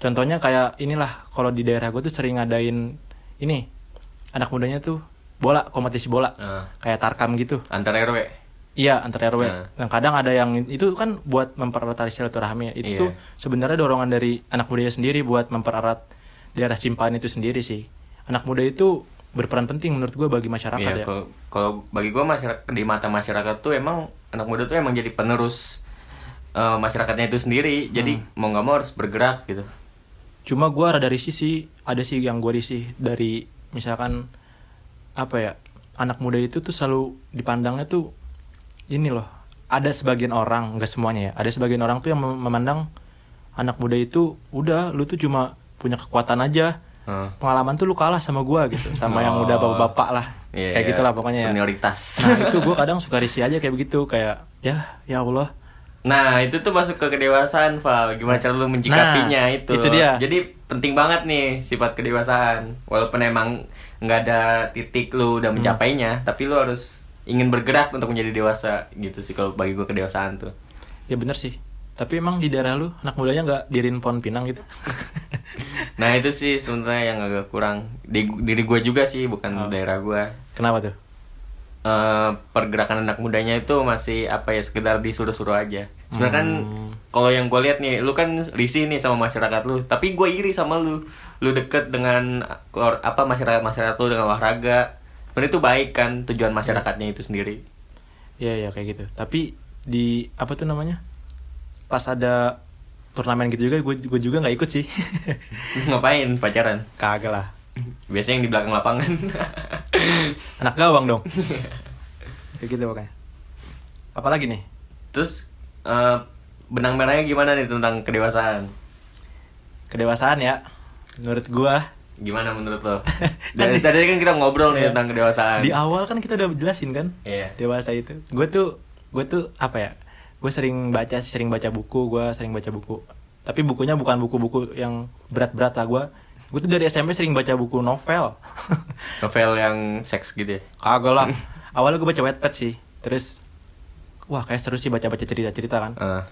contohnya kayak inilah kalau di daerah gue tuh sering ngadain ini anak mudanya tuh bola kompetisi bola Ah. kayak tarkam gitu Antar RW. iya antar rw Ah. dan kadang ada yang itu kan buat mempererat silaturahmi ya. itu Iya. tuh sebenarnya dorongan dari anak mudanya sendiri buat mempererat daerah simpaan itu sendiri sih anak muda itu berperan penting menurut gue bagi masyarakat Iya, ya kalau- kalau bagi gua masyarakat di mata masyarakat tuh emang anak muda tuh emang jadi penerus eh, masyarakatnya itu sendiri. Jadi Hmm. mau nggak mau harus bergerak gitu. Cuma gue rada risih sih, ada sih yang gue risih dari misalkan apa ya anak muda itu tuh selalu dipandangnya tuh ini loh. Ada sebagian orang, nggak semuanya ya. Ada sebagian orang tuh yang mem- memandang anak muda itu udah lu tuh cuma punya kekuatan aja. Heeh. Pengalaman tuh lu kalah sama gua gitu, sama yang Oh. udah bapak-bapak lah. Iya, kayak iya. gitulah pokoknya ya. Senioritas. Nah, itu gue kadang suka risih aja kayak begitu, kayak ya ya Allah. Nah, itu tuh masuk ke kedewasaan, Val. Gimana cara lu mencikapinya Nah, itu? itu dia. Jadi penting banget nih sifat kedewasaan. Walaupun emang nggak ada titik lu Hmm. udah mencapainya, tapi lu harus ingin bergerak untuk menjadi dewasa gitu sih kalau bagi gua kedewasaan tuh. Ya bener sih. Tapi emang di daerah lu anak mudanya nggak dirin pohon pinang gitu. Nah itu sih sebenarnya yang agak kurang di diri gue juga sih bukan daerah gue. Kenapa tuh? Eh, pergerakan anak mudanya itu masih apa ya sekedar disuruh-suruh aja. Sebenarnya kan kalau yang gue lihat nih, lu kan risih nih sama masyarakat lu, tapi gue iri sama lu. Lu deket dengan keluar- apa masyarakat masyarakat lu dengan olahraga. Sebenarnya itu baik kan tujuan masyarakatnya itu sendiri. Iya ya kayak gitu. Tapi di apa tuh namanya? Pas ada turnamen gitu juga gue gue juga nggak ikut sih. Ngapain pacaran? Kagak lah. Biasanya yang di belakang lapangan. Anak gawang dong. kayak gitu pokoknya. Apalagi nih? Terus eh, benang merahnya gimana nih tentang kedewasaan? Kedewasaan ya. Menurut gua Gimana menurut lo? Dari tadi kan kita ngobrol nih Iya. tentang kedewasaan. di awal kan kita udah jelasin kan Iya. dewasa itu gue tuh gue tuh apa ya gue sering baca sih, sering baca buku gue sering baca buku tapi bukunya bukan buku-buku yang berat-berat lah gue gue tuh dari SMP sering baca buku novel Novel yang seks gitu ya. kagak lah awalnya gue baca Wattpad sih terus wah kayak seru sih baca-baca cerita-cerita kan Eh,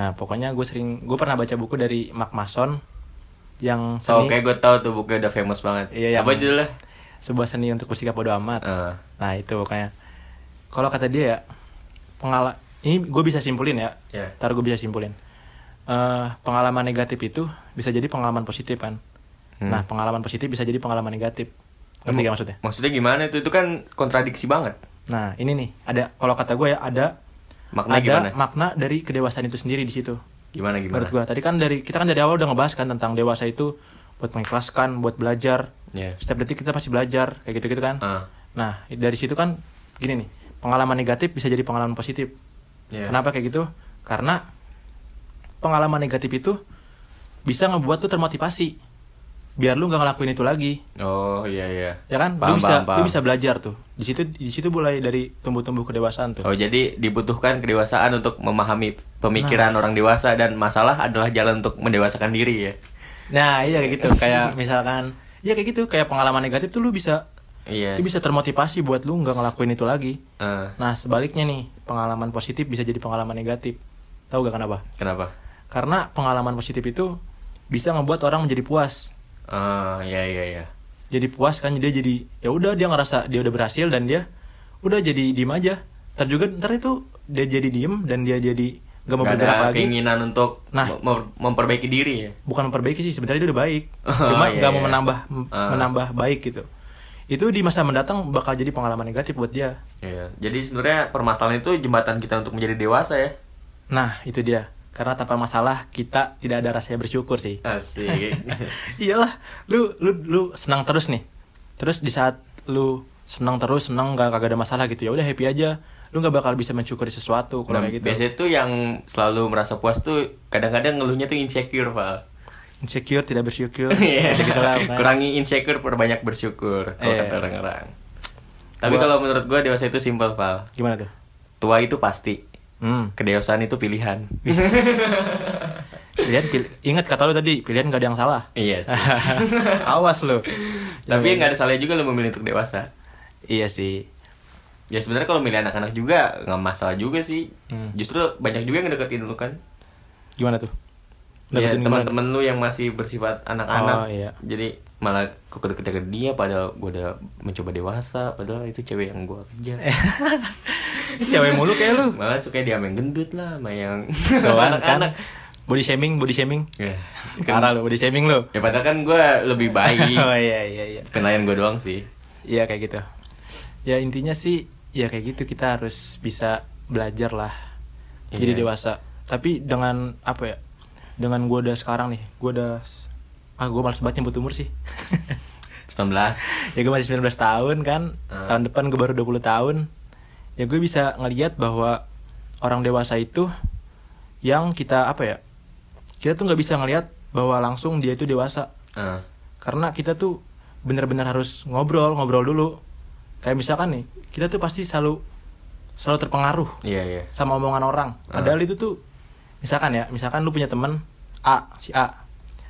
nah pokoknya gue sering gue pernah baca buku dari Mark Mason yang so, seni kayak gue tau tuh bukunya udah famous banget. Iya, yang- Apa judulnya? sebuah seni untuk bersikap bodoh amat Eh, Nah itu pokoknya kalau kata dia ya pengala ini gue bisa simpulin ya Ya. ntar gue bisa simpulin Eh, pengalaman negatif itu bisa jadi pengalaman positif kan Hmm. nah pengalaman positif bisa jadi pengalaman negatif ngerti gak maksudnya Maksudnya gimana itu? Itu kan kontradiksi banget. nah ini nih ada kalau kata gue ya ada Makna ada gimana? makna dari kedewasaan itu sendiri di situ Gimana gimana? menurut gue tadi kan dari kita kan dari awal udah ngebahas kan tentang dewasa itu buat mengikhlaskan buat belajar Iya. setiap detik kita pasti belajar kayak gitu gitu kan Ah. nah dari situ kan gini nih pengalaman negatif bisa jadi pengalaman positif Iya. kenapa kayak gitu karena pengalaman negatif itu bisa ngebuat lu termotivasi biar lu nggak ngelakuin itu lagi Oh iya iya. ya kan Paham, lu bisa paham, paham. lu bisa belajar tuh di situ di situ mulai dari tumbuh-tumbuh kedewasaan tuh Oh jadi dibutuhkan kedewasaan untuk memahami Nah. pemikiran orang dewasa dan masalah adalah jalan untuk mendewasakan diri ya. nah iya kayak gitu kayak misalkan ya kayak gitu kayak pengalaman negatif tuh lu bisa Iya. Itu bisa termotivasi buat lu nggak ngelakuin itu lagi. Eh, Nah sebaliknya nih pengalaman positif bisa jadi pengalaman negatif. Tahu gak kenapa? kenapa? Karena pengalaman positif itu bisa ngebuat orang menjadi puas. Ah iya iya iya. Jadi puas kan dia jadi ya udah dia ngerasa dia udah berhasil dan dia udah jadi diem aja. Ntar juga ntar itu dia jadi diem dan dia jadi gak mau Nggak bergerak ada lagi. keinginan untuk Nah. mem- memperbaiki diri ya. Bukan memperbaiki sih sebenarnya dia udah baik. Oh, Cuma iya, nggak mau iya. menambah Ah. menambah baik gitu. Itu di masa mendatang bakal jadi pengalaman negatif buat dia. Iya. Jadi sebenarnya permasalahan itu jembatan kita untuk menjadi dewasa ya. Nah, itu dia. Karena tanpa masalah kita tidak ada rasanya bersyukur sih. Asik. Iyalah, lu lu lu senang terus nih. Terus di saat lu senang terus, senang gak kagak ada masalah gitu. Ya udah happy aja. Lu nggak bakal bisa mensyukuri sesuatu kalau Nah, kayak gitu. Biasanya tuh yang selalu merasa puas tuh kadang-kadang ngeluhnya tuh insecure, Pak. Insecure, tidak bersyukur. Iya. gitu lah, pokoknya. Kurangi insecure, perbanyak bersyukur kalau Iya. kata orang-orang. Tapi Gua- kalau menurut gua dewasa itu simpel, Pak. Gimana tuh? Tua itu pasti, Hmm. kedewasaan itu pilihan. Iya Pilihan pil- ingat kata lu tadi, pilihan gak ada yang salah. Iya sih. Awas lu. Tapi nggak ada salahnya juga lo memilih untuk dewasa. Iya sih. Ya sebenarnya kalau milih anak-anak juga nggak masalah juga sih. Hmm. Justru banyak juga yang ngedeketin lu kan. Gimana tuh? Ya, Dapetin gimana? teman-teman lu yang masih bersifat anak-anak. Oh, iya. Jadi malah kok deket ke dia padahal gua udah mencoba dewasa padahal itu cewek yang gua kejar. Eh. Cewek mulu kayak lu. Malah suka dia main gendut lah, sama yang Doan anak-anak. kan. Body shaming, body shaming. Ya, kan- Parah lu, body shaming lu. ya padahal kan gue lebih baik. oh iya iya iya. Kenalain gue doang sih. Iya kayak gitu. Ya intinya sih ya kayak gitu kita harus bisa belajar lah. Jadi Iya. dewasa. Tapi dengan apa ya? Dengan gua udah sekarang nih, gua udah ah gua malas banget nyebut umur sih. 19. ya gue masih 19 tahun kan. Hmm. Tahun depan gue baru 20 tahun. Ya gue bisa ngelihat bahwa orang dewasa itu yang kita apa ya? Kita tuh nggak bisa ngelihat bahwa langsung dia itu dewasa Ah, karena kita tuh benar-benar harus ngobrol ngobrol dulu kayak misalkan nih kita tuh pasti selalu selalu terpengaruh iya iya. sama omongan orang Ah. padahal itu tuh misalkan ya misalkan lu punya temen A si A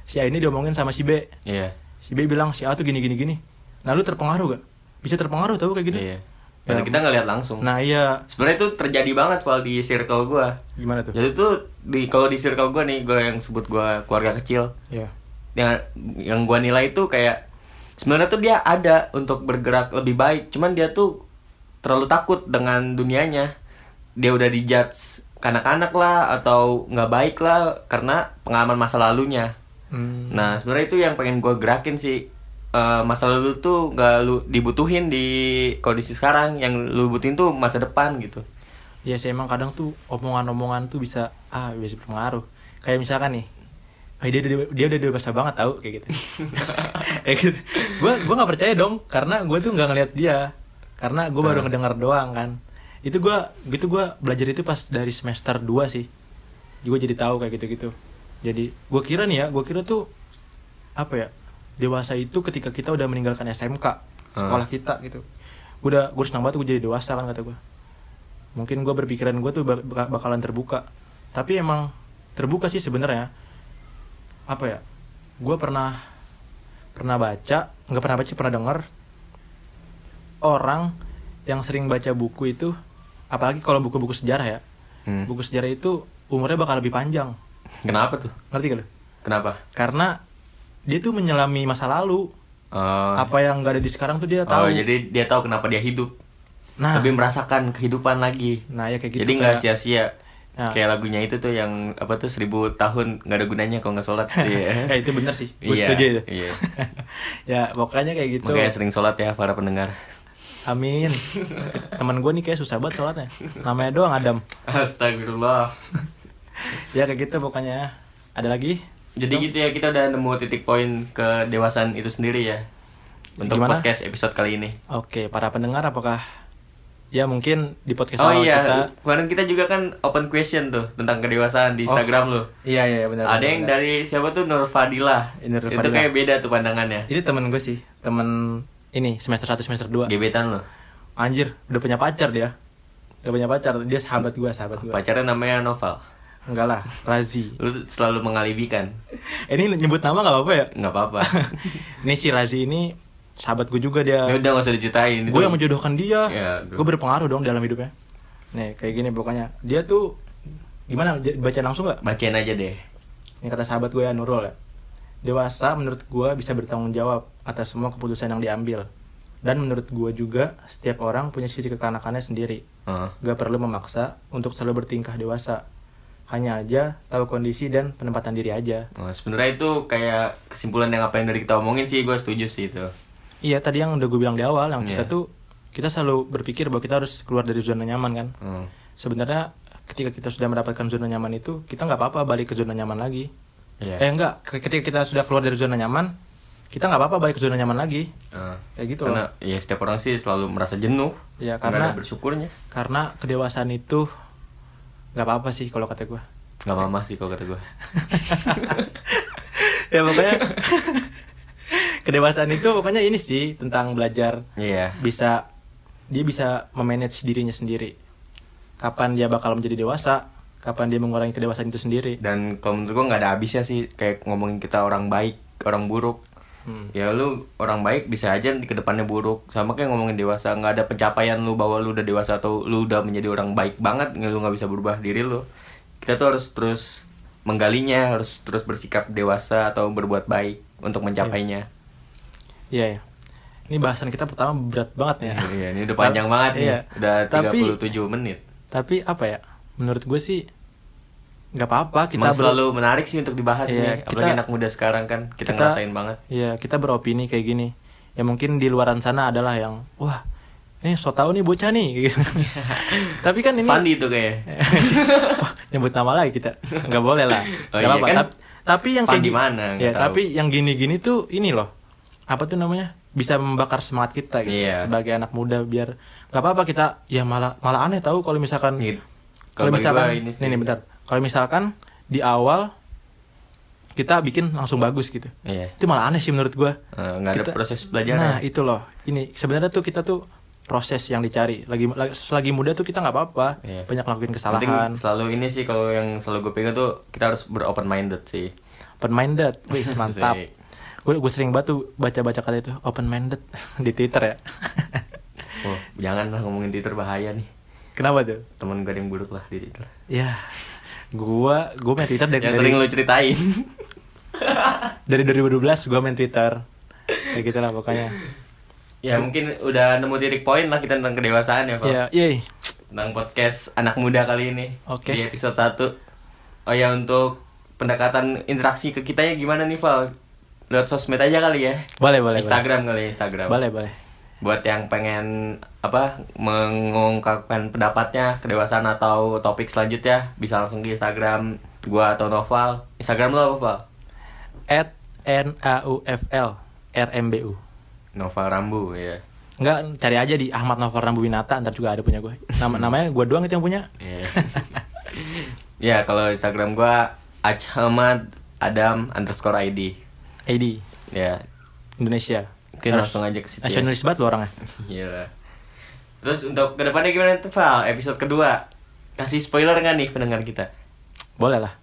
si A ini diomongin sama si B Iya. si B bilang si A tuh gini gini gini nah lu terpengaruh gak bisa terpengaruh tau kayak gitu Iya. Padahal Ya, kita ngeliat langsung. nah iya Sebenarnya itu terjadi banget Val di circle gue. gimana tuh Jadi tuh di kalau di circle gue nih, gue yang sebut gue keluarga kecil. ya Yang yang gue nilai itu kayak sebenarnya tuh dia ada untuk bergerak lebih baik. Cuman dia tuh terlalu takut dengan dunianya. Dia udah dijudge kanak-kanak lah atau nggak baik lah karena pengalaman masa lalunya. Hmm, Nah, sebenarnya itu yang pengen gue gerakin sih. Eh, masa lalu tuh gak lu dibutuhin di kondisi sekarang. Yang lu butuhin tuh masa depan gitu. ya sih emang kadang tuh omongan-omongan tuh bisa ah bisa berpengaruh kayak misalkan nih "Oh, dia udah dia udah dewasa banget tau kayak gitu kayak gitu gue gue nggak percaya dong karena gue tuh nggak ngeliat dia karena gue baru ngedengar doang kan itu gue gitu gue belajar itu pas dari semester 2 sih gue jadi tahu kayak gitu gitu jadi gue kira nih ya gue kira tuh apa ya dewasa itu ketika kita udah meninggalkan SMK sekolah kita gitu gue udah gue senang banget gue jadi dewasa kan kata gue mungkin gue berpikiran gue tuh bak- bak- bakalan terbuka tapi emang terbuka sih sebenarnya apa ya gue pernah pernah baca nggak pernah baca pernah dengar orang yang sering baca buku itu apalagi kalau buku-buku sejarah ya Hmm. buku sejarah itu umurnya bakal lebih panjang Kenapa tuh? ngerti gak lu Kenapa? karena dia tuh menyelami masa lalu Oh, apa yang gak ada di sekarang tuh dia oh, tahu jadi dia tahu kenapa dia hidup. Nah. lebih merasakan kehidupan lagi Nah, ya kayak gitu, jadi nggak kayak- sia-sia Nah. kayak lagunya itu tuh yang apa tuh seribu tahun nggak ada gunanya kalau nggak sholat ya itu bener sih gue Iya, setuju itu iya. ya pokoknya kayak gitu makanya sering sholat ya para pendengar amin teman gue nih kayak susah banget sholatnya namanya doang Adam Astagfirullah. ya kayak gitu pokoknya ada lagi Jadi gitu ya kita udah nemu titik poin kedewasaan itu sendiri ya. Untuk Gimana? podcast episode kali ini. oke para pendengar apakah ya mungkin di podcast oh awal iya, kita kemarin kita juga kan open question tuh tentang kedewasaan di Instagram lo. iya iya benar Ada benar, yang benar. dari siapa tuh Nur Fadila. Nur Itu Fadila. kayak beda tuh pandangannya. itu temen gue sih temen ini semester 1 semester 2 Gebetan lo. anjir udah punya pacar dia udah punya pacar dia sahabat gue sahabat gue Pacarnya namanya Noval. enggak lah Razi Lu tuh selalu mengalibikan. Eh, ini nyebut nama nggak apa-apa ya nggak apa-apa. ini si Razi ini sahabat gue juga dia ya udah nggak usah diceritain. gue Itu- yang menjodohkan dia Ya, aduh. gue berpengaruh dong dalam hidupnya nih kayak gini pokoknya dia tuh gimana j- baca langsung nggak bacain aja deh. ini kata sahabat gue ya Nurul ya dewasa menurut gue bisa bertanggung jawab atas semua keputusan yang diambil dan menurut gue juga setiap orang punya sisi kekanakannya sendiri Heeh. gak perlu memaksa untuk selalu bertingkah dewasa hanya aja tahu kondisi dan penempatan diri aja Nah, sebenarnya itu kayak kesimpulan yang apa yang dari kita omongin sih gue setuju sih itu. iya tadi yang udah gue bilang di awal yang kita Iya. tuh kita selalu berpikir bahwa kita harus keluar dari zona nyaman kan Hmm. sebenarnya ketika kita sudah mendapatkan zona nyaman itu kita nggak apa-apa balik ke zona nyaman lagi Iya. eh enggak ketika kita sudah keluar dari zona nyaman kita nggak apa-apa balik ke zona nyaman lagi Ah. kayak gitu karena loh ya setiap orang sih selalu merasa jenuh. Ya, Nggak karena- ada bersyukurnya. karena kedewasaan itu nggak apa-apa sih kalau kata gue Gak mama sih kalau kata gue. ya pokoknya kedewasaan itu pokoknya ini sih tentang belajar Iya. bisa dia bisa memanage dirinya sendiri kapan dia bakal menjadi dewasa kapan dia mengurangi kedewasaan itu sendiri Dan kalau menurut gue nggak ada habisnya sih kayak ngomongin kita orang baik, orang buruk. Hmm. Ya lu orang baik bisa aja nanti kedepannya buruk. Sama kayak ngomongin dewasa nggak ada pencapaian lu bahwa lu udah dewasa atau lu udah menjadi orang baik banget nggak lu nggak bisa berubah diri lu. Kita tuh harus terus menggalinya, harus terus bersikap dewasa atau berbuat baik untuk mencapainya. Iya ya. Ini bahasan kita pertama berat banget ya. Iya, ini udah panjang banget nih. Iya. Udah tapi, 37 menit. Tapi apa ya? Menurut gue sih nggak apa-apa kita Emang ber- selalu menarik sih untuk dibahas Iya, ini. Apalagi kita- anak muda sekarang kan kita, ngerasain banget. Iya, kita beropini kayak gini. Ya mungkin di luaran sana adalah yang wah, ini so tau nih bocah nih. tapi kan ini Fandi itu kayaknya. Wah, nyebut nama lagi kita. Nggak boleh lah. Oh Nggak iya, apa-apa. kan Tap- tapi yang Pan kayak di gi- mana, nggak Ya, tahu. tapi yang gini-gini tuh ini loh. Apa tuh namanya? Bisa membakar semangat kita gitu Iya. sebagai anak muda biar nggak apa-apa kita ya malah malah aneh tahu kalau misalkan Iya. kalau Kalau bagi misalkan gua ini ini sih. nih, nih bentar. Kalau misalkan di awal kita bikin langsung bagus gitu. Iya. Itu malah aneh sih menurut gua. Eh, nggak ada Kita- proses ya. belajaran. Nah, itu loh. Ini sebenarnya tuh kita tuh proses yang dicari. Lagi lagi- selagi muda tuh kita nggak apa-apa. Iya. Banyak lakuin Penting kesalahan. selalu ini sih kalau yang selalu gue pegang tuh kita harus beropen minded sih. open minded wis mantap Asik. gue gue sering banget tuh baca baca kata itu open minded di twitter ya Oh, jangan lah ngomongin Twitter bahaya nih. kenapa tuh Temen gue ada yang buruk lah di Twitter. ya gue gue main twitter dari Yang sering lu ceritain. dari 2012 gue main twitter kayak gitu lah pokoknya ya mungkin udah nemu titik poin lah kita tentang kedewasaan ya, Pak. ya yey tentang podcast anak muda kali ini Oke. di episode 1 oh ya untuk pendekatan interaksi ke kitanya gimana nih Val lewat sosmed aja kali ya boleh boleh Instagram kali ya, Instagram boleh boleh boleh buat yang pengen apa mengungkapkan pendapatnya kedewasaan atau topik selanjutnya bisa langsung di Instagram gua atau Noval Instagram lo apa Val at n a u f l r m b u Noval Rambu ya Enggak, cari aja di Ahmad Novel Rambu Winata, ntar juga ada punya gue. Nama Hmm. namanya gue doang itu yang punya. Iya. ya kalau Instagram gua Achmad Adam underscore ID ID ya Indonesia. Mungkin Harus langsung aja ke situ ya. Nasionalis banget lo orangnya. Iya. Terus untuk kedepannya gimana tuh Val? Episode kedua kasih spoiler nggak nih pendengar kita? Boleh lah.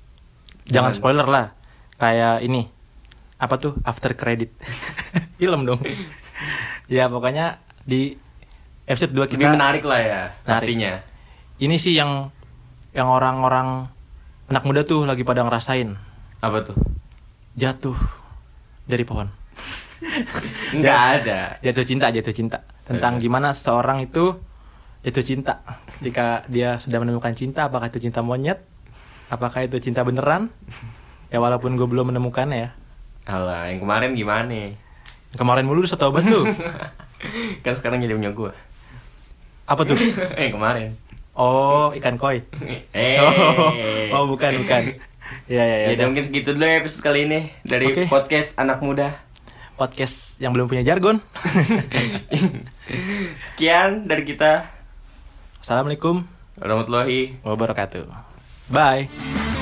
Jangan Jangan. spoiler lah. Kayak ini. Apa tuh? After credit. Film dong. ya pokoknya di episode 2 Lebih kita menarik lah ya pastinya. ini sih yang yang orang-orang anak muda tuh lagi pada ngerasain Apa tuh? jatuh dari pohon. Nggak ada. Iya. Jatuh cinta, jatuh cinta. Tentang gimana seorang itu jatuh cinta jika dia sudah menemukan cinta apakah itu cinta monyet apakah itu cinta beneran ya walaupun gue belum menemukannya ya Alah, yang kemarin gimana? kemarin mulu lu setau banget lu kan sekarang jadi punya gua. apa tuh eh, kemarin. oh ikan koi Eh. oh, oh, bukan bukan ya ya ya, Ya, udah, udah. mungkin segitu dulu ya episode kali ini dari Oke. podcast anak muda. podcast yang belum punya jargon Sekian dari kita. assalamualaikum Warahmatullahi wabarakatuh bye